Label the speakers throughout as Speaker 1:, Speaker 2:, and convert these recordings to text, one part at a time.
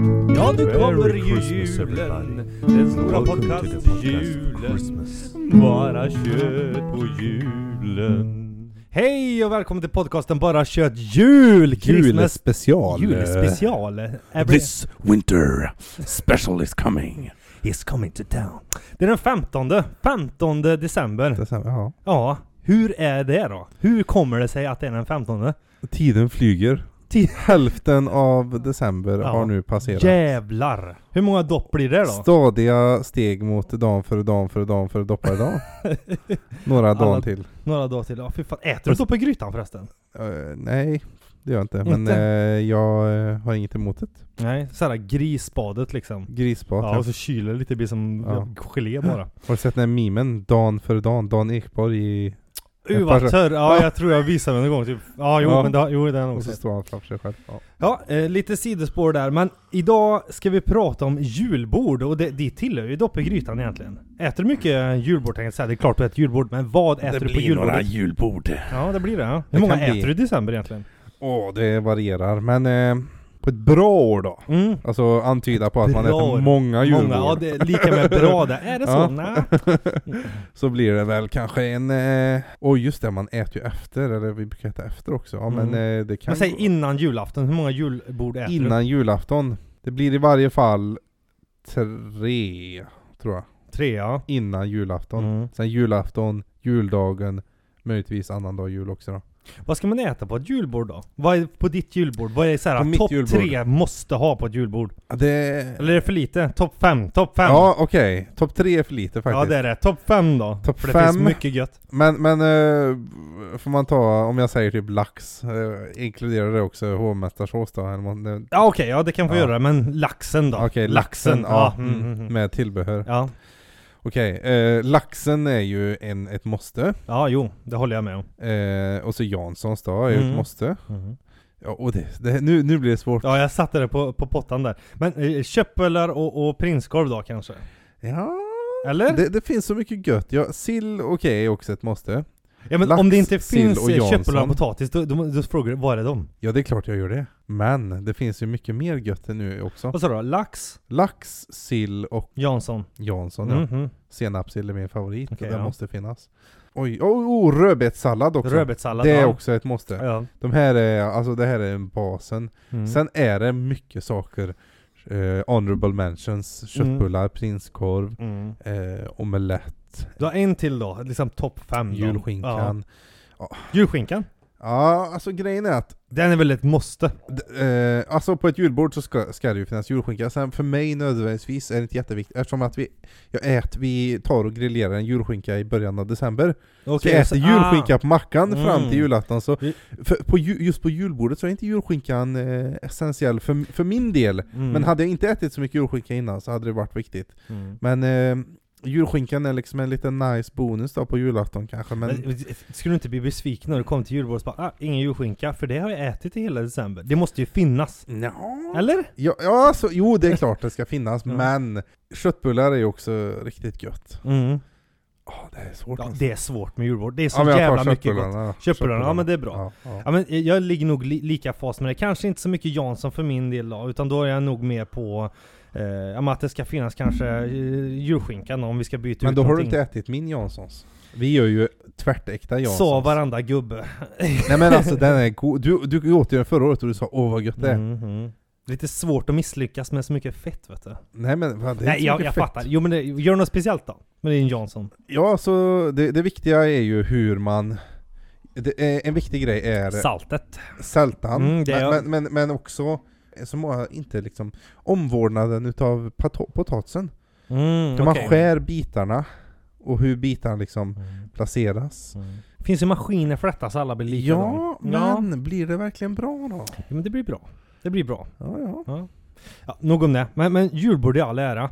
Speaker 1: Ja, nu
Speaker 2: Merry
Speaker 1: kommer ju
Speaker 2: Christmas, everybody.
Speaker 1: julen. Den stora
Speaker 2: Welcome to the
Speaker 1: podcast-julen.
Speaker 2: Christmas.
Speaker 1: Bara kött på julen. Hej och välkommen till podcasten Bara kött jul! Christmas Eh,
Speaker 3: Julspecial.
Speaker 1: julspecial. Every
Speaker 2: This winter special is coming.
Speaker 1: is coming to town. Det är den 15, 15 december.
Speaker 3: December, ja.
Speaker 1: Ja, hur är det då? Hur kommer det sig att det är den 15?
Speaker 3: Tiden flyger.
Speaker 1: Ti-
Speaker 3: Hälften av december
Speaker 1: Ja.
Speaker 3: har nu passerat.
Speaker 1: Jävlar! Hur många dopp blir det då?
Speaker 3: Stadiga steg mot dan för dan för dan för doppare dag. Några
Speaker 1: Alla-
Speaker 3: dagar till.
Speaker 1: Några dagar till. Ja, fy fan. Äter du dopp i grytan förresten?
Speaker 3: Eh, nej, det gör jag inte. Men
Speaker 1: Inte?
Speaker 3: eh, jag eh, har inget emot det.
Speaker 1: Nej, såhär grisspadet liksom.
Speaker 3: Grispat.
Speaker 1: Ja, och så kyler det lite, det blir som
Speaker 3: Ja.
Speaker 1: gelé bara.
Speaker 3: Har du sett den här memen? Dan för dan. Dan Ekborg i...
Speaker 1: Uh,
Speaker 3: Jag tar-
Speaker 1: vad törr. Ja, jag tror jag visade den en gång typ. Ja, jo,
Speaker 3: Ja.
Speaker 1: men det, jo, den
Speaker 3: Och
Speaker 1: också.
Speaker 3: så står han framför sig själv. Ja.
Speaker 1: Ja, eh, lite sidospår där, men idag ska vi prata om julbord och det, det tillhör ju dopp i grytan egentligen. Äter du mycket julbord? Tänker jag säga, det är klart du äter julbord, men vad äter du på julbordet?
Speaker 2: julbord.
Speaker 1: Ja, det blir det. Ja. Hur
Speaker 3: Det
Speaker 1: många
Speaker 3: kan bli.
Speaker 1: äter du i december egentligen?
Speaker 3: Åh, det varierar. Men eh, på ett bra år då.
Speaker 1: Mm.
Speaker 3: Alltså antyda på att man
Speaker 1: Bra år.
Speaker 3: äter många julbord.
Speaker 1: Många, ja det är lika med bra det. Är det så?
Speaker 3: Ja.
Speaker 1: Nej.
Speaker 3: Så blir det väl kanske en... Eh, och just det, man äter ju efter, eller vi brukar äta efter också. Ja, men
Speaker 1: Mm.
Speaker 3: eh, det kan
Speaker 1: Men säg innan julafton, hur många julbord äter
Speaker 3: innan julafton. Det blir i varje fall tre, tror jag.
Speaker 1: du? Tre ja.
Speaker 3: Innan julafton.
Speaker 1: Mm.
Speaker 3: Sen julafton, juldagen, möjligtvis annandag jul också då.
Speaker 1: Vad ska man äta på ett julbord då? Vad är på ditt julbord? Vad är
Speaker 3: På
Speaker 1: såhär
Speaker 3: mitt
Speaker 1: topp
Speaker 3: julbord?
Speaker 1: tre måste ha på ett julbord?
Speaker 3: Ja, Det...
Speaker 1: Eller är det för lite? Topp fem? Topp fem?
Speaker 3: Ja, okej. Topp tre är för lite faktiskt.
Speaker 1: Ja det är det. Topp fem då.
Speaker 3: Topp
Speaker 1: För det
Speaker 3: fem.
Speaker 1: finns mycket gött.
Speaker 3: Men, men eh, får man ta, om jag säger typ lax, eh, inkluderar det också hovmästarsås då? Eller vad det-
Speaker 1: Ja okej, ja det kan få
Speaker 3: Ja.
Speaker 1: göra men laxen då?
Speaker 3: Okej, laxen, ja.
Speaker 1: ja. Mm, mm, mm.
Speaker 3: Med tillbehör.
Speaker 1: Ja.
Speaker 3: Okej, eh, laxen är ju en, ett måste.
Speaker 1: ja, jo, det håller jag med om.
Speaker 3: Eh, och så Janssons då är ju
Speaker 1: Mm.
Speaker 3: ett måste. Ja, och det, det, nu, nu blir det svårt.
Speaker 1: Ja, jag satte det på, på pottan där. Men eh, köttbullar och, och prinskorv då kanske?
Speaker 3: Ja.
Speaker 1: Eller?
Speaker 3: Det, det finns så mycket gött. Ja, sill, okej, är också ett måste.
Speaker 1: ja men
Speaker 3: lax,
Speaker 1: om det inte
Speaker 3: sill
Speaker 1: finns
Speaker 3: och
Speaker 1: eh, köttbullar och
Speaker 3: Jansson.
Speaker 1: potatis, då, då, då frågar du var är de?
Speaker 3: Ja, det är klart jag gör det. Men det finns ju mycket mer gött än nu också.
Speaker 1: Vad sa du? Lax,
Speaker 3: Lax, sill och
Speaker 1: Jansson?
Speaker 3: Jansson. Ja.
Speaker 1: Mhm.
Speaker 3: Senapssill är min favorit.
Speaker 1: Okej,
Speaker 3: den
Speaker 1: ja.
Speaker 3: måste finnas. Oj, oh, oh, rödbetssallad också.
Speaker 1: Rödbetssallad?
Speaker 3: det är
Speaker 1: ja.
Speaker 3: också ett måste.
Speaker 1: Ja.
Speaker 3: De här är, alltså det här är basen.
Speaker 1: Mm.
Speaker 3: Sen är det mycket saker. Eh, honorable mentions, köttbullar, prinskorv,
Speaker 1: Mm.
Speaker 3: eh, omelett,
Speaker 1: Du har en till då, liksom topp fem då.
Speaker 3: julskinkan.
Speaker 1: Ja. Julskinkan?
Speaker 3: Ja, alltså grejen är att
Speaker 1: Den är väl ett måste?
Speaker 3: d- eh, alltså på ett julbord så ska, ska det ju finnas julskinka. Sen för mig nödvändigtvis är det inte jätteviktigt eftersom att vi, jag äter, vi tar och grillerar en julskinka i början av december. Så jag
Speaker 1: så-
Speaker 3: äter julskinka på mackan
Speaker 1: Mm.
Speaker 3: fram till julafton. Så
Speaker 1: Vi-
Speaker 3: för, på, ju- just på julbordet så är inte julskinkan eh, essentiell för, för min del.
Speaker 1: Ah. Mm.
Speaker 3: Men hade jag inte ätit så mycket julskinka innan så hade det varit viktigt.
Speaker 1: Mm.
Speaker 3: Men eh, julskinkan är liksom en liten nice bonus då på julafton kanske. Men,
Speaker 1: Men, skulle du inte bli besviken när du kom till julbordet och bara ah, ingen julskinka, för det har jag ätit i hela december. Det måste ju finnas.
Speaker 3: ja,
Speaker 1: Eller?
Speaker 3: ja, alltså, jo det är klart det ska finnas,
Speaker 1: Ja.
Speaker 3: men köttbullar är ju också riktigt gött.
Speaker 1: Mm.
Speaker 3: Ja, det är svårt.
Speaker 1: Ja,
Speaker 3: alltså.
Speaker 1: det är svårt med julbord. Det är så
Speaker 3: Ja, men jag tar
Speaker 1: jävla mycket
Speaker 3: köttbullarna,
Speaker 1: gott.
Speaker 3: ja.
Speaker 1: Köttbullarna, ja men det är bra.
Speaker 3: Ja, ja.
Speaker 1: Ja, men jag ligger nog li lika fas med det. Kanske inte så mycket Jansson för min del då, utan då är jag nog mer på eh, ja, men att det ska finnas kanske eh, julskinkan om vi ska byta
Speaker 3: Men
Speaker 1: ut
Speaker 3: då har du
Speaker 1: någonting.
Speaker 3: inte ätit min Janssons. Vi gör ju tvärtäkta Janssons.
Speaker 1: Sa varenda gubbe.
Speaker 3: Nej men alltså den är god. Du, du åt ju den förra året och du sa åh vad gött det är.
Speaker 1: Mhm. Lite svårt att misslyckas med så mycket fett vet du.
Speaker 3: Nej men fan, det är
Speaker 1: Nej
Speaker 3: inte så
Speaker 1: jag,
Speaker 3: mycket
Speaker 1: jag
Speaker 3: fett.
Speaker 1: fattar. Jo men det, gör något speciellt då. Med din Jansson.
Speaker 3: Ja, så det, det viktiga är ju hur man... Det är, en viktig grej är
Speaker 1: Saltet.
Speaker 3: sältan,
Speaker 1: Mm, det
Speaker 3: men,
Speaker 1: är-
Speaker 3: men, men, men också så många inte liksom omvårdnaden utav pato- potatisen.
Speaker 1: Mm,
Speaker 3: Hur
Speaker 1: okej.
Speaker 3: man skär bitarna och hur bitarna liksom
Speaker 1: Mm,
Speaker 3: placeras.
Speaker 1: mm. Finns ju maskiner för detta så alla blir likadana.
Speaker 3: Ja,
Speaker 1: Ja.
Speaker 3: men blir det verkligen bra då?
Speaker 1: Ja, men det blir bra. Det blir bra.
Speaker 3: Ja, ja.
Speaker 1: Ja, nog om det. Men, men julbord i all ära.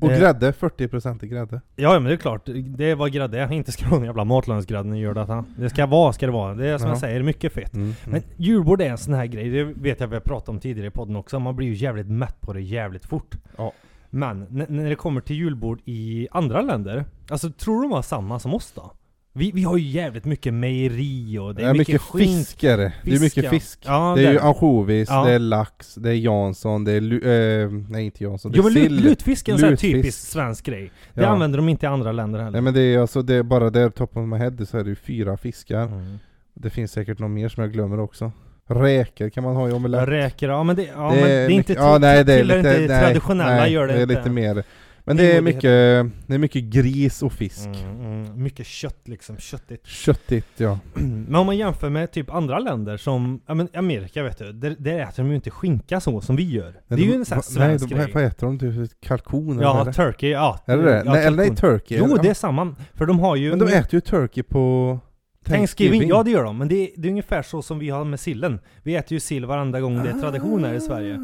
Speaker 3: Och
Speaker 1: Eh,
Speaker 3: grädde, 40% i grädde.
Speaker 1: Ja, ja, men det är klart. Det är vad grädde är. Inte ska det vara någon jävla matlagningsgrädde ni gör detta. Det ska vara, ska det vara. Det är som
Speaker 3: Ja.
Speaker 1: jag säger, mycket fett.
Speaker 3: Mm.
Speaker 1: Men julbord är en sån här grej, det vet jag vi har pratat om tidigare i podden också. Man blir ju jävligt mätt på det jävligt fort.
Speaker 3: Ja.
Speaker 1: Men n- när det kommer till julbord i andra länder, alltså tror du de har samma som oss då? Vi, vi har ju jävligt mycket mejeri och det
Speaker 3: Det
Speaker 1: är
Speaker 3: är mycket,
Speaker 1: skinn.
Speaker 3: fisk är det. Det är mycket
Speaker 1: ja.
Speaker 3: fisk.
Speaker 1: Ja,
Speaker 3: det är ju
Speaker 1: där.
Speaker 3: ansjovis,
Speaker 1: Ja.
Speaker 3: det är lax, det är Jansson, det är lu- eh, Nej inte Jansson, det
Speaker 1: Jo
Speaker 3: är
Speaker 1: men lut,
Speaker 3: sill.
Speaker 1: lutfisk är en sån här
Speaker 3: Lutfisk.
Speaker 1: typisk svensk grej. Det
Speaker 3: Ja.
Speaker 1: använder de inte i andra länder heller.
Speaker 3: Nej men det är alltså, det är bara där top of my head så är det ju fyra fiskar.
Speaker 1: Mm.
Speaker 3: Det finns säkert någon mer som jag glömmer också. Räkor kan man ha i omelett.
Speaker 1: Räkor, ja men det, ja, men det är inte,
Speaker 3: mycket- ja, nej, det är
Speaker 1: tillhör
Speaker 3: lite,
Speaker 1: inte det
Speaker 3: nej,
Speaker 1: traditionella
Speaker 3: nej,
Speaker 1: gör det,
Speaker 3: är
Speaker 1: inte.
Speaker 3: lite mer. Men
Speaker 1: Det är
Speaker 3: det är,
Speaker 1: modighet.
Speaker 3: mycket, det är mycket gris och fisk.
Speaker 1: Mm, mm, mycket kött liksom, köttigt.
Speaker 3: Köttigt ja.
Speaker 1: Men om man jämför med typ andra länder som, ja men Amerika vet du, där, där äter de ju inte skinka så som vi gör.
Speaker 3: Men
Speaker 1: det är
Speaker 3: de-
Speaker 1: ju en sån här
Speaker 3: va-
Speaker 1: svensk
Speaker 3: nej, de,
Speaker 1: grej.
Speaker 3: Vad äter de? Typ kalkon? eller vad
Speaker 1: Ja,
Speaker 3: är det?
Speaker 1: turkey, ja.
Speaker 3: Är det det?
Speaker 1: ja,
Speaker 3: nej, eller nej,
Speaker 1: kalkon.
Speaker 3: turkey.
Speaker 1: Jo,
Speaker 3: eller?
Speaker 1: det är samma. För de har ju...
Speaker 3: Men de äter ju turkey på
Speaker 1: Thanksgiving, ja det gör de. Men det är, det är ungefär så som vi har med sillen. Vi äter ju sill varenda gång det är tradition här i Sverige.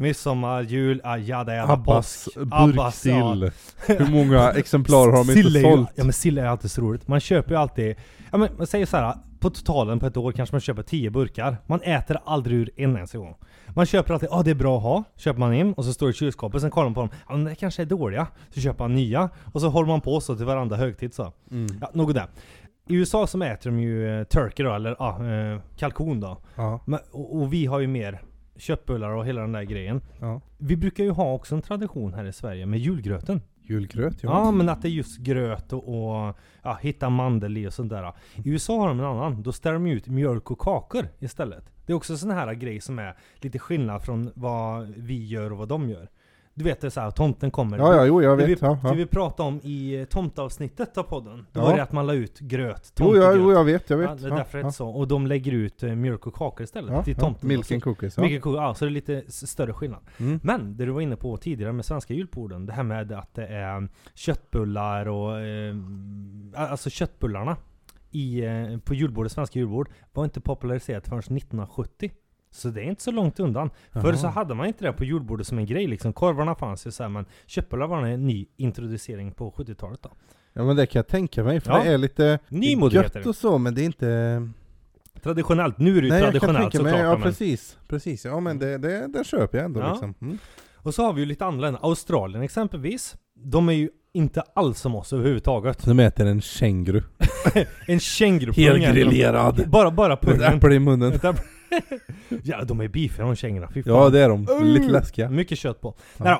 Speaker 1: Midsommar, jul, ah, jada, jada,
Speaker 3: Ah. Abbas
Speaker 1: påsk.
Speaker 3: burksill.
Speaker 1: ja.
Speaker 3: Hur många exemplar har de
Speaker 1: Sill
Speaker 3: inte
Speaker 1: är ju,
Speaker 3: sålt?
Speaker 1: ja men sill är alltid så roligt. Man köper ju alltid, ja men man säger så här. På totalen på ett år kanske man köper 10 burkar. Man äter aldrig ur en ens en gång. Man köper alltid, ja ah, det är bra att ha. Köper man in och så står det i kylskåpet. Sen kollar man på dem, ja men det kanske är dåliga. Så köper man nya. Och så håller man på så till varandra högtid så.
Speaker 3: Mm.
Speaker 1: Ja, något där. I USA så äter de ju eh, turkey då, eller ja, eh, kalkon då.
Speaker 3: Ja,
Speaker 1: Men, och, och vi har ju mer köttbullar och hela den där grejen.
Speaker 3: ja.
Speaker 1: Vi brukar ju ha också en tradition här i Sverige med julgröten.
Speaker 3: Julgröt
Speaker 1: Ja,
Speaker 3: ja.
Speaker 1: men att det är just gröt och, och ja, hitta mandel i och sånt där. I USA har de en annan. Då ställer de ut mjölk och kakor istället. Det är också sån här grej som är lite skillnad från vad vi gör och vad de gör. Du vet det är så här, tomten kommer.
Speaker 3: Ja, ja, jo jag
Speaker 1: Det vi,
Speaker 3: vet. Ja,
Speaker 1: det
Speaker 3: ja.
Speaker 1: vi pratade om i eh, tomtavsnittet av podden. Då
Speaker 3: Ja.
Speaker 1: var det att man la ut gröt,
Speaker 3: Jo,
Speaker 1: tomtegröt.
Speaker 3: jag, jo, jag vet, jag vet.
Speaker 1: Ja, det är därför det är så. Och de lägger ut eh, mjölk och kakor istället
Speaker 3: Ja,
Speaker 1: till
Speaker 3: ja.
Speaker 1: tomten.
Speaker 3: Milk and
Speaker 1: och
Speaker 3: cookies.
Speaker 1: så,
Speaker 3: Ja.
Speaker 1: Milk and cookies, ja, så det är lite s- större skillnad.
Speaker 3: Mm.
Speaker 1: Men det du var inne på tidigare med svenska julborden, det här med att det är köttbullar och... Eh, alltså köttbullarna i, eh, på julbordet, svenska julbord, var inte populariserat förrän 1970. Så det är inte så långt undan. Förr så
Speaker 3: Jaha.
Speaker 1: hade man inte det på julbordet som en grej liksom. Korvarna fanns ju så här, men köttbullar var en ny introducering på 70-talet då.
Speaker 3: Ja men det kan jag tänka mig, för
Speaker 1: Ja.
Speaker 3: det är lite
Speaker 1: Nymodigheter.
Speaker 3: gött och så men det är inte...
Speaker 1: Traditionellt, nu är det ju
Speaker 3: Nej jag kan
Speaker 1: traditionellt
Speaker 3: tänka
Speaker 1: såklart.
Speaker 3: mig, ja
Speaker 1: men-
Speaker 3: precis, precis. Ja men det, det, det köper jag ändå
Speaker 1: Ja.
Speaker 3: liksom. Mm.
Speaker 1: Och så har vi ju lite andra länder. Australien exempelvis. De är ju inte alls som oss överhuvudtaget.
Speaker 3: De äter en känguru.
Speaker 1: En känguru
Speaker 2: Helgrillerad.
Speaker 1: Bara, bara
Speaker 3: Med ett
Speaker 1: pungen.
Speaker 3: äpple i munnen.
Speaker 1: Ett äpple. ja, de är beefiga de kängorna. Fy fan.
Speaker 3: Ja det är de, lite läskiga.
Speaker 1: Mycket kött på.
Speaker 3: Ja.
Speaker 1: Nej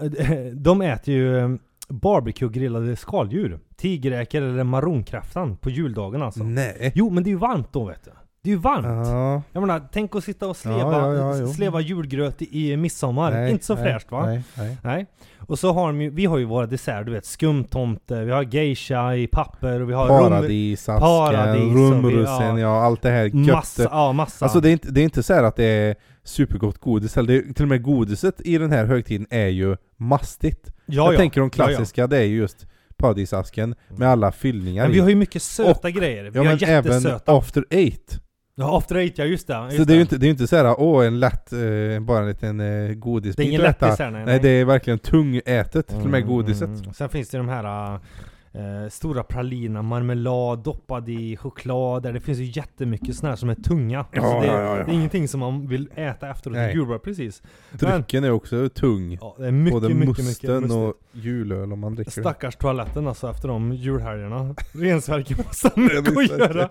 Speaker 1: då. Eh, de äter ju eh, barbecue-grillade skaldjur. Tigeräkor eller maronkräftan på juldagen alltså.
Speaker 3: Nej.
Speaker 1: Jo, men det är ju varmt då vet du. Det är ju varmt.
Speaker 3: Mm. Ja.
Speaker 1: Jag menar, tänk att sitta och sleva,
Speaker 3: Ja, ja, ja, jo.
Speaker 1: sleva julgröt i i midsommar.
Speaker 3: Nej,
Speaker 1: inte så
Speaker 3: nej,
Speaker 1: fräscht va?
Speaker 3: Nej, nej.
Speaker 1: Nej. Och så har de ju, vi har ju våra desserter, du vet skumtomte, vi har geisha i papper och vi har rum,
Speaker 3: Paradis,
Speaker 1: Paradis
Speaker 3: asken,
Speaker 1: och
Speaker 3: rumrussen,
Speaker 1: vi-
Speaker 3: ja allt det här gött.
Speaker 1: massa, ja massa.
Speaker 3: Alltså det är, inte, det är inte så här att det är supergott godis, eller det är, till och med godiset i den här högtiden är ju mastigt.
Speaker 1: ja,
Speaker 3: jag
Speaker 1: ja.
Speaker 3: tänker de
Speaker 1: Ja, ja.
Speaker 3: klassiska, det är ju just paradisasken med alla fyllningar
Speaker 1: Men
Speaker 3: i.
Speaker 1: vi har ju mycket söta grejer. Vi
Speaker 3: Ja
Speaker 1: har
Speaker 3: men även
Speaker 1: jättesöta.
Speaker 3: after eight.
Speaker 1: Ja, after eight, ja just det. Just
Speaker 3: Så det är ju inte, det är ju inte såhär, åh en lätt, eh, bara en liten eh, godisbit.
Speaker 1: det är ingen
Speaker 3: lätt,
Speaker 1: lättis
Speaker 3: ah.
Speaker 1: här, nej.
Speaker 3: Nej det är verkligen tungätet, till och med
Speaker 1: Mm,
Speaker 3: godiset.
Speaker 1: mm. Sen finns det ju de här eh, stora pralina, marmelad doppad i choklad. Där det finns ju jättemycket sådana här som är tunga. Alltså,
Speaker 2: Ja,
Speaker 1: det,
Speaker 2: ja, ja, ja.
Speaker 1: det är ingenting som man vill äta efteråt.
Speaker 3: Nej.
Speaker 1: Julbord, precis.
Speaker 3: Drycken är också tung.
Speaker 1: Ja, det är mycket,
Speaker 3: Både
Speaker 1: mycket, mycket
Speaker 3: musten
Speaker 1: mustigt.
Speaker 3: och julöl om man dricker. det.
Speaker 1: Stackars toaletten alltså efter de julhelgerna. Rensverket har så mycket att
Speaker 3: Rensverket.
Speaker 1: göra.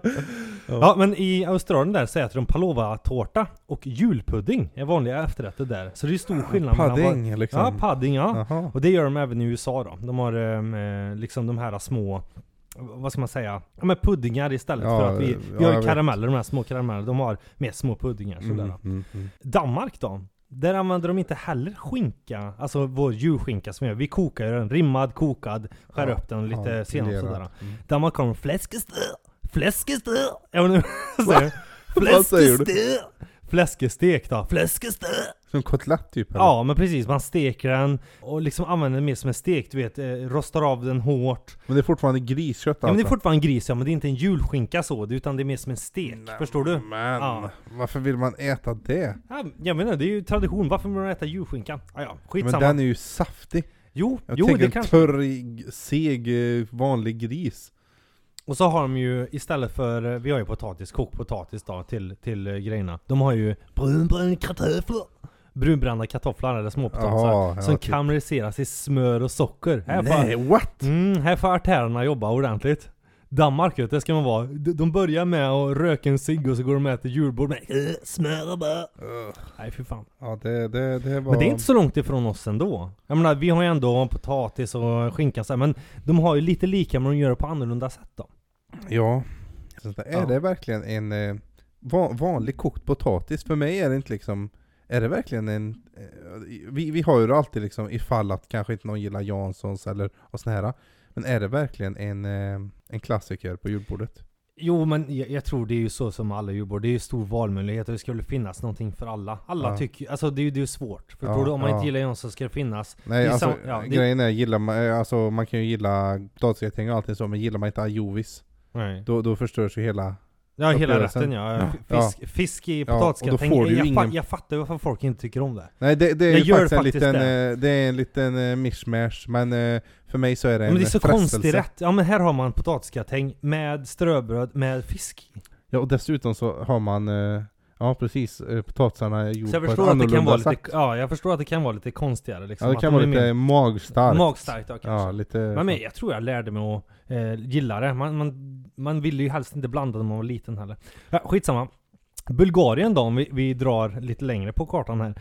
Speaker 1: Ja men i Australien där så äter de palova-tårta och julpudding är vanliga efterrätter där. Så det är stor skillnad mellan...
Speaker 3: Padding liksom.
Speaker 1: Ja, padding ja.
Speaker 3: Jaha.
Speaker 1: Och det gör de även i USA då. De har ehm, eh, liksom de här små, vad ska man säga? Ja men puddingar istället
Speaker 3: Ja,
Speaker 1: för att vi,
Speaker 3: ja,
Speaker 1: vi har ju
Speaker 3: jag vet.
Speaker 1: karameller, de här små karameller. De har mer små puddingar sådär.
Speaker 3: Mm, mm, mm.
Speaker 1: Danmark då? Där använder de inte heller skinka, alltså vår djurskinka som vi gör. Vi kokar ju den, rimmad, kokad, skär
Speaker 3: Ja,
Speaker 1: upp den lite
Speaker 3: ja,
Speaker 1: senap och
Speaker 3: filerat.
Speaker 1: sådär.
Speaker 3: Mm.
Speaker 1: Danmark kommer fläskestö, fläskestö. Jag vet inte vad jag säger.
Speaker 3: Vad säger du?
Speaker 1: Fläskestö. Fläskestek då, fläskestö.
Speaker 3: Som kotlett typ? eller?
Speaker 1: Ja men precis, man steker den och liksom använder den mer som en stek, du vet, eh, rostar av den hårt.
Speaker 3: Men det är fortfarande griskött alltså.
Speaker 1: Ja, men det är fortfarande en gris ja, men det är inte en julskinka så, det- utan det är mer som en stek. Förstår du?
Speaker 3: Men,
Speaker 1: Ja.
Speaker 3: varför vill man äta det?
Speaker 1: Ja, jag menar, det är ju tradition. Varför vill man äta djurskinka? Ja, ja,
Speaker 3: Men
Speaker 1: skitsamma.
Speaker 3: den är ju saftig.
Speaker 1: Jo,
Speaker 3: Jag
Speaker 1: jo
Speaker 3: tänker
Speaker 1: det
Speaker 3: en
Speaker 1: kanske.
Speaker 3: törr, seg, eh, vanlig gris.
Speaker 1: Och så har de ju istället för, eh, vi har ju potatis, kokt potatis då till, till eh, grejerna. De har ju brunbrända kartofflar. Brunbrända kartofflar eller småpotatisar.
Speaker 3: Jaha, ja,
Speaker 1: som
Speaker 3: typ.
Speaker 1: karameliseras i smör och socker. Här får,
Speaker 3: what?
Speaker 1: mm, här får artärerna jobba ordentligt. Danmark vet du, det ska man vara. De de börjar med att röka en cigg och så går de och äter julbord med eh, smör och bär. Nej fy fan.
Speaker 3: Ja, det, det, det var...
Speaker 1: Men det är inte så långt ifrån oss ändå. Jag menar, vi har ju ändå potatis och skinka så här, men de har ju lite lika men de gör det på annorlunda sätt då.
Speaker 3: Ja. Så det- är
Speaker 1: Ja.
Speaker 3: det verkligen en eh, va- vanlig kokt potatis? För mig är det inte liksom... Är det verkligen en... eh, Vi, vi har ju det alltid liksom ifall att kanske inte någon gillar Janssons eller och såna här. Men är det verkligen en, eh, en klassiker på julbordet?
Speaker 1: Jo men jag, jag tror det är ju så som alla julbord, det är ju stor valmöjlighet och det ska väl finnas någonting för alla. Alla
Speaker 3: Ja.
Speaker 1: tycker alltså det, är ju- det är ju svårt. För
Speaker 3: Ja,
Speaker 1: tror du, om man
Speaker 3: ja.
Speaker 1: inte gillar Jonsson ska det finnas.
Speaker 3: Nej,
Speaker 1: Det är
Speaker 3: alltså
Speaker 1: sam- ja, det-
Speaker 3: grejen är, gillar man, eh, alltså, man kan ju gilla potatisgratäng och allting så, men gillar man inte ajovis,
Speaker 1: Nej.
Speaker 3: då, då förstörs ju hela...
Speaker 1: Ja hela
Speaker 3: Upplevelsen.
Speaker 1: rätten ja.
Speaker 3: Ja.
Speaker 1: Fisk, fisk i
Speaker 3: Ja, och då
Speaker 1: potatisgratäng.
Speaker 3: får du ju
Speaker 1: jag, fa-
Speaker 3: ingen-
Speaker 1: jag fattar varför folk inte tycker om det.
Speaker 3: Nej, det, det är
Speaker 1: Jag
Speaker 3: ju
Speaker 1: gör
Speaker 3: faktiskt en
Speaker 1: faktiskt
Speaker 3: liten,
Speaker 1: det.
Speaker 3: eh, det är en liten eh, mishmash, men eh, för mig så är det en
Speaker 1: Men det är så
Speaker 3: frestelse.
Speaker 1: konstig rätt. Ja men här har man potatisgratäng med ströbröd med fisk i.
Speaker 3: Ja, och dessutom så har man, eh, ja precis, eh, potatisarna är gjorda
Speaker 1: Så jag
Speaker 3: på ett
Speaker 1: förstår att det
Speaker 3: annorlunda
Speaker 1: kan vara
Speaker 3: sätt.
Speaker 1: lite, ja, jag förstår att det kan vara lite konstigare liksom.
Speaker 3: ja, det
Speaker 1: Att
Speaker 3: kan
Speaker 1: de
Speaker 3: vara
Speaker 1: är
Speaker 3: lite
Speaker 1: mer-
Speaker 3: magstarkt.
Speaker 1: magstarkt. Ja, kanske.
Speaker 3: Ja, lite...
Speaker 1: men, men jag tror jag lärde mig att eh, gilla det. Man, man, man ville ju helst inte blanda när man var liten heller. Ja, skitsamma. Bulgarien då, om vi, vi drar lite längre på kartan här.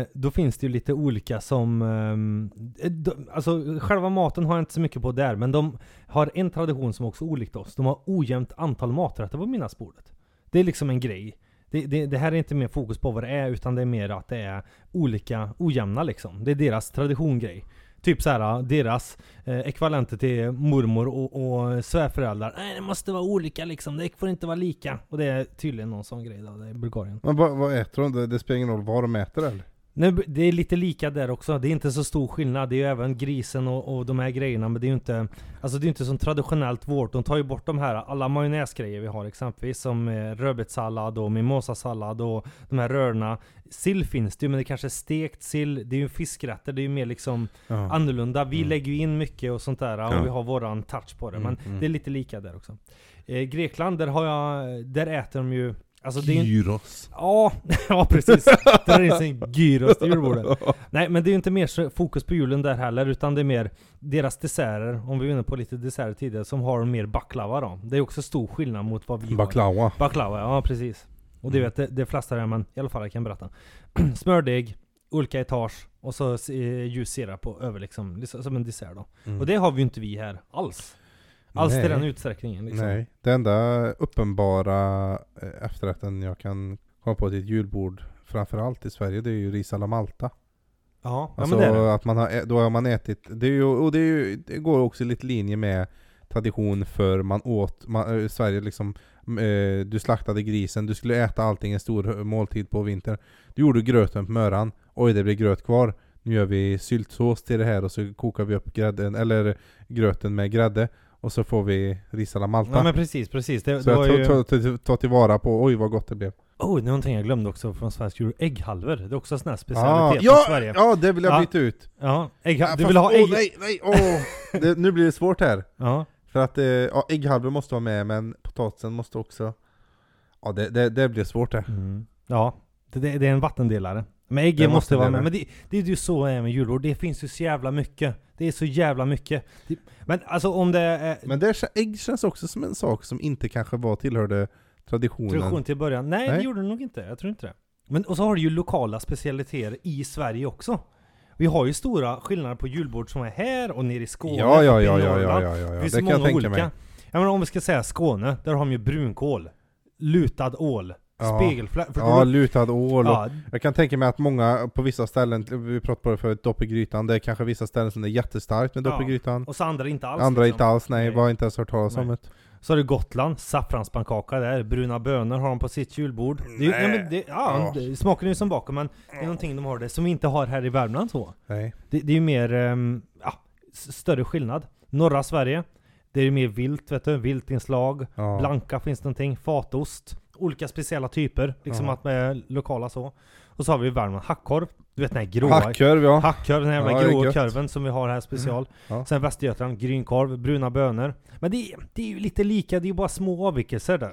Speaker 1: Eh, då finns det ju lite olika som... ehm, Eh, de, alltså själva maten har jag inte så mycket på där, men de har en tradition som också är olikt oss. De har ojämnt antal maträtter på midnattsbordet. Det är liksom en grej. Det, det, det här är inte mer fokus på vad det är, utan det är mer att det är olika, ojämna liksom. Det är deras traditiongrej. Typ så här, deras eh, ekvivalenter till mormor och, och svärföräldrar. Nej, det måste vara olika liksom. Det får inte vara lika. Och det är tydligen någon sån grej då, i Bulgarien.
Speaker 3: Men vad, vad äter de? Det, det spelar ingen roll vad de äter eller?
Speaker 1: Nej, det är lite lika där också. Det är inte så stor skillnad. Det är ju även grisen och, och de här grejerna. Men det är ju inte, alltså det är inte som traditionellt vårt. De tar ju bort de här alla majonnäsgrejer vi har exempelvis. Som eh, rödbetssallad och mimosasallad och de här rörorna. Sill finns det ju, men det är kanske är stekt sill. Det är ju fiskrätter. Det är ju mer liksom
Speaker 3: Ja.
Speaker 1: annorlunda. Vi
Speaker 3: Mm.
Speaker 1: lägger ju in mycket och sånt där. Och
Speaker 2: Ja.
Speaker 1: vi har våran touch på det.
Speaker 3: Mm,
Speaker 1: Men
Speaker 3: mm.
Speaker 1: det är lite lika där också. Eh, Grekland, där har jag, där äter de ju Alltså det är ju
Speaker 3: Gyros.
Speaker 1: Ja, ja precis. Drar in sin gyros till julbordet. Nej men det är ju inte mer så fokus på julen där heller, utan det är mer deras desserter, om vi var inne på lite desserter tidigare, som har mer baklava då. Det är också stor skillnad mot vad vi har.
Speaker 3: Baklava.
Speaker 1: Baklava, ja precis. Och
Speaker 3: Mm.
Speaker 1: det vet det, det flesta där, men i alla fall jag kan berätta. Smördeg, olika etage och så eh, ljus sirap på över liksom, liksom, som en dessert då.
Speaker 3: Mm.
Speaker 1: Och det har vi ju inte vi här alls. Alls
Speaker 3: Nej.
Speaker 1: till den utsträckningen liksom.
Speaker 3: Nej, det enda uppenbara eh, efterrätten jag kan komma på till ett julbord framförallt i Sverige det är ju ris alla Malta.
Speaker 1: Ja, ja
Speaker 3: Alltså
Speaker 1: men det är det.
Speaker 3: att man har, ä- då har man ätit, det, är ju, och det, är ju, det går också lite linje med tradition för man åt, man, eh, Sverige liksom, m- eh, du slaktade grisen, du skulle äta allting en stor hö- måltid på vintern. Du gjorde gröten på möran, oj det blir gröt kvar. Nu gör vi syltsås till det här och så kokar vi upp grädden, eller gröten med grädde. Och så får vi ris alla Malta.
Speaker 1: Ja men precis, precis. Det,
Speaker 3: Så
Speaker 1: det var
Speaker 3: jag
Speaker 1: ju...
Speaker 3: tar ta, ta, ta tillvara på, oj vad gott det blev.
Speaker 1: Oh, det är någonting jag glömde också från svensk jul. Ägghalvor. Det är också en sån här
Speaker 3: Ah,
Speaker 1: specialitet i
Speaker 3: ja,
Speaker 1: Sverige. Ja,
Speaker 3: ja, det vill jag
Speaker 1: Ja.
Speaker 3: byta ut.
Speaker 1: ägghalvor. Du
Speaker 3: Ja,
Speaker 1: vill ha
Speaker 3: fast-
Speaker 1: ägg...
Speaker 3: Åh nej, nej, åh! det, nu blir det svårt här.
Speaker 1: ja.
Speaker 3: För att eh, ja, ägghalvor måste vara med, men potatisen måste också... Ja, det, det, det blir svårt det.
Speaker 1: Mm. ja, det, det det är en vattendelare. Men äggen
Speaker 3: En
Speaker 1: måste vara med. Men
Speaker 3: vattendelare.
Speaker 1: det, det är ju så det är med julbord. Det finns ju så jävla mycket. Det är så jävla mycket. Det, men alltså om det är
Speaker 3: Men det, kä- ägg känns också som en sak som inte kanske var tillhörde traditionen.
Speaker 1: tradition till början. Nej, det
Speaker 3: Nej.
Speaker 1: gjorde det nog inte. Jag tror inte det. Men, och så har du ju lokala specialiteter i Sverige också. Vi har ju stora skillnader på julbord som är här och nere i Skåne.
Speaker 3: Ja, ja,
Speaker 1: uppe i
Speaker 3: ja, ja,
Speaker 1: Norrland.
Speaker 3: ja, ja, ja.
Speaker 1: Det
Speaker 3: Det
Speaker 1: finns
Speaker 3: kan
Speaker 1: många
Speaker 3: jag tänka
Speaker 1: olika.
Speaker 3: mig.
Speaker 1: Ja, men om vi ska säga Skåne, där har de ju brunkål, lutad ål,
Speaker 3: Ja.
Speaker 1: spegelfläck.
Speaker 3: Ja, lutad ål och
Speaker 1: ja,
Speaker 3: Jag kan tänka mig att många på vissa ställen, vi pratade på det förut, dopp i grytan, det är kanske vissa ställen som det är jättestarkt med dopp i
Speaker 1: Ja,
Speaker 3: grytan.
Speaker 1: och så andra inte alls.
Speaker 3: Andra
Speaker 1: liksom.
Speaker 3: inte alls, nej,
Speaker 1: Nej.
Speaker 3: vi har inte ens hört talas om
Speaker 1: Nej.
Speaker 3: det.
Speaker 1: Så har du Gotland, saffranspannkaka där, bruna bönor har de på sitt julbord. Det, är ju- ja, men det, ja,
Speaker 3: Ja.
Speaker 1: det smakar ju som bakom men det är någonting de har det som vi inte har här i Värmland så.
Speaker 3: Nej.
Speaker 1: Det, det är ju mer, ehm, ja, s- större skillnad. Norra Sverige, det är ju mer vilt vet du, viltinslag.
Speaker 3: Ja.
Speaker 1: Blanka finns det någonting, fatost, olika speciella typer, liksom
Speaker 3: Ja.
Speaker 1: att med lokala så. Och så har vi i Värmland hackkorv, du vet den här gråa
Speaker 3: Hackkorv ja.
Speaker 1: hackkorv, den här jävla
Speaker 3: Ja, det är
Speaker 1: gråa
Speaker 3: gött. Mm.
Speaker 1: korven som vi har här special.
Speaker 3: Ja.
Speaker 1: Sen Västergötland, grynkorv, bruna bönor. Men det, är- det är ju lite lika, det är ju bara små avvikelser där.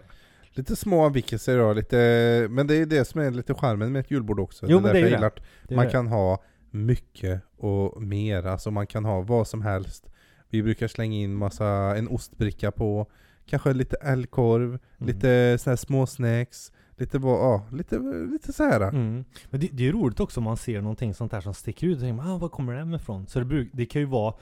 Speaker 3: Lite små avvikelser då, lite, men det är det som är lite charmen med ett julbord också.
Speaker 1: Jo, men
Speaker 3: därför
Speaker 1: det är ju
Speaker 3: jag
Speaker 1: det.
Speaker 3: gillar att
Speaker 1: Det är
Speaker 3: Man
Speaker 1: det.
Speaker 3: kan ha mycket och mer, alltså man kan ha vad som helst. Vi brukar slänga in massa, en ostbricka på, Kanske lite älgkorv,
Speaker 1: Mm.
Speaker 3: lite såna här småsnacks, lite vad, ja, lite, lite så här.
Speaker 1: Mm. Men det, det är ju roligt också om man ser någonting sånt här som sticker ut. Och tänker man, ah, var kommer den ifrån? Så det, bruk, det kan ju vara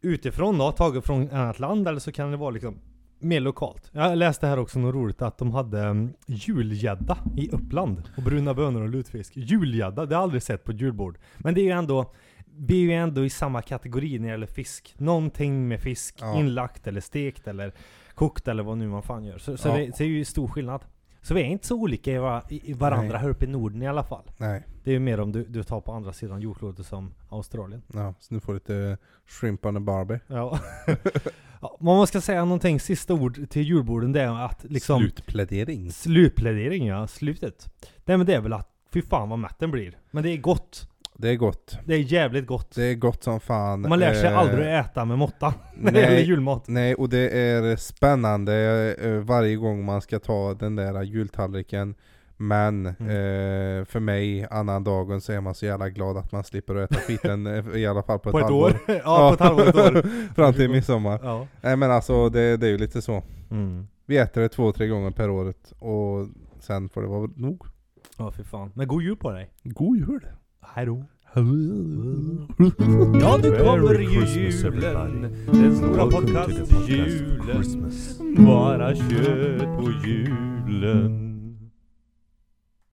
Speaker 1: utifrån då, taget från ett annat land. Eller så kan det vara liksom mer lokalt. Jag läste här också något roligt att de hade um, julgädda i Uppland. Och bruna bönor och lutfisk. Julgädda, det har jag aldrig sett på ett julbord. Men det är ju ändå vi är ju ändå i samma kategori när det gäller fisk. Någonting med fisk,
Speaker 3: Ja.
Speaker 1: inlagt eller stekt eller kokt eller vad nu man fan gör. Så, så
Speaker 3: Ja.
Speaker 1: det, så det är ju stor skillnad. Så vi är inte så olika i, va- i i varandra
Speaker 3: Nej.
Speaker 1: här uppe i Norden i alla fall.
Speaker 3: Nej,
Speaker 1: Det är ju mer om du, du tar på andra sidan jordklotet som Australien.
Speaker 3: ja, så nu får du lite shrimp on a barbie.
Speaker 1: Ja. ja, men om man ska säga någonting, sista ord till julborden det är att liksom...
Speaker 3: Slutplädering.
Speaker 1: Slutplädering ja, slutet. Nej men det är väl att fy fan vad mätt den blir. Men det är gott.
Speaker 3: Det är gott.
Speaker 1: Det är jävligt gott.
Speaker 3: Det är gott som fan.
Speaker 1: Man lär sig
Speaker 3: Eh,
Speaker 1: aldrig äta med måtta när det gäller
Speaker 3: Nej,
Speaker 1: julmat.
Speaker 3: nej, och det är spännande eh, varje gång man ska ta den där jultallriken. Men
Speaker 1: Mm.
Speaker 3: eh, för mig, annan dagen, så är man så jävla glad att man slipper äta skiten eh, i alla fall på ett,
Speaker 1: På ett
Speaker 3: halvår.
Speaker 1: år? ja, på ett halvår, ett år.
Speaker 3: Fram till midsommar.
Speaker 1: Ja.
Speaker 3: Nej men alltså det, det är ju lite så.
Speaker 1: Mm.
Speaker 3: Vi äter det två, tre gånger per året och sen får det vara nog.
Speaker 1: Ja, fy fan. Men god jul på dig.
Speaker 3: God jul!
Speaker 1: Hejdå.
Speaker 4: Ja, nu kommer
Speaker 2: Merry
Speaker 4: ju
Speaker 2: Christmas, everybody.
Speaker 4: julen, den stora
Speaker 2: Welcome to the podcast
Speaker 4: podcast-julen.
Speaker 2: Christmas.
Speaker 4: Bara kött på julen.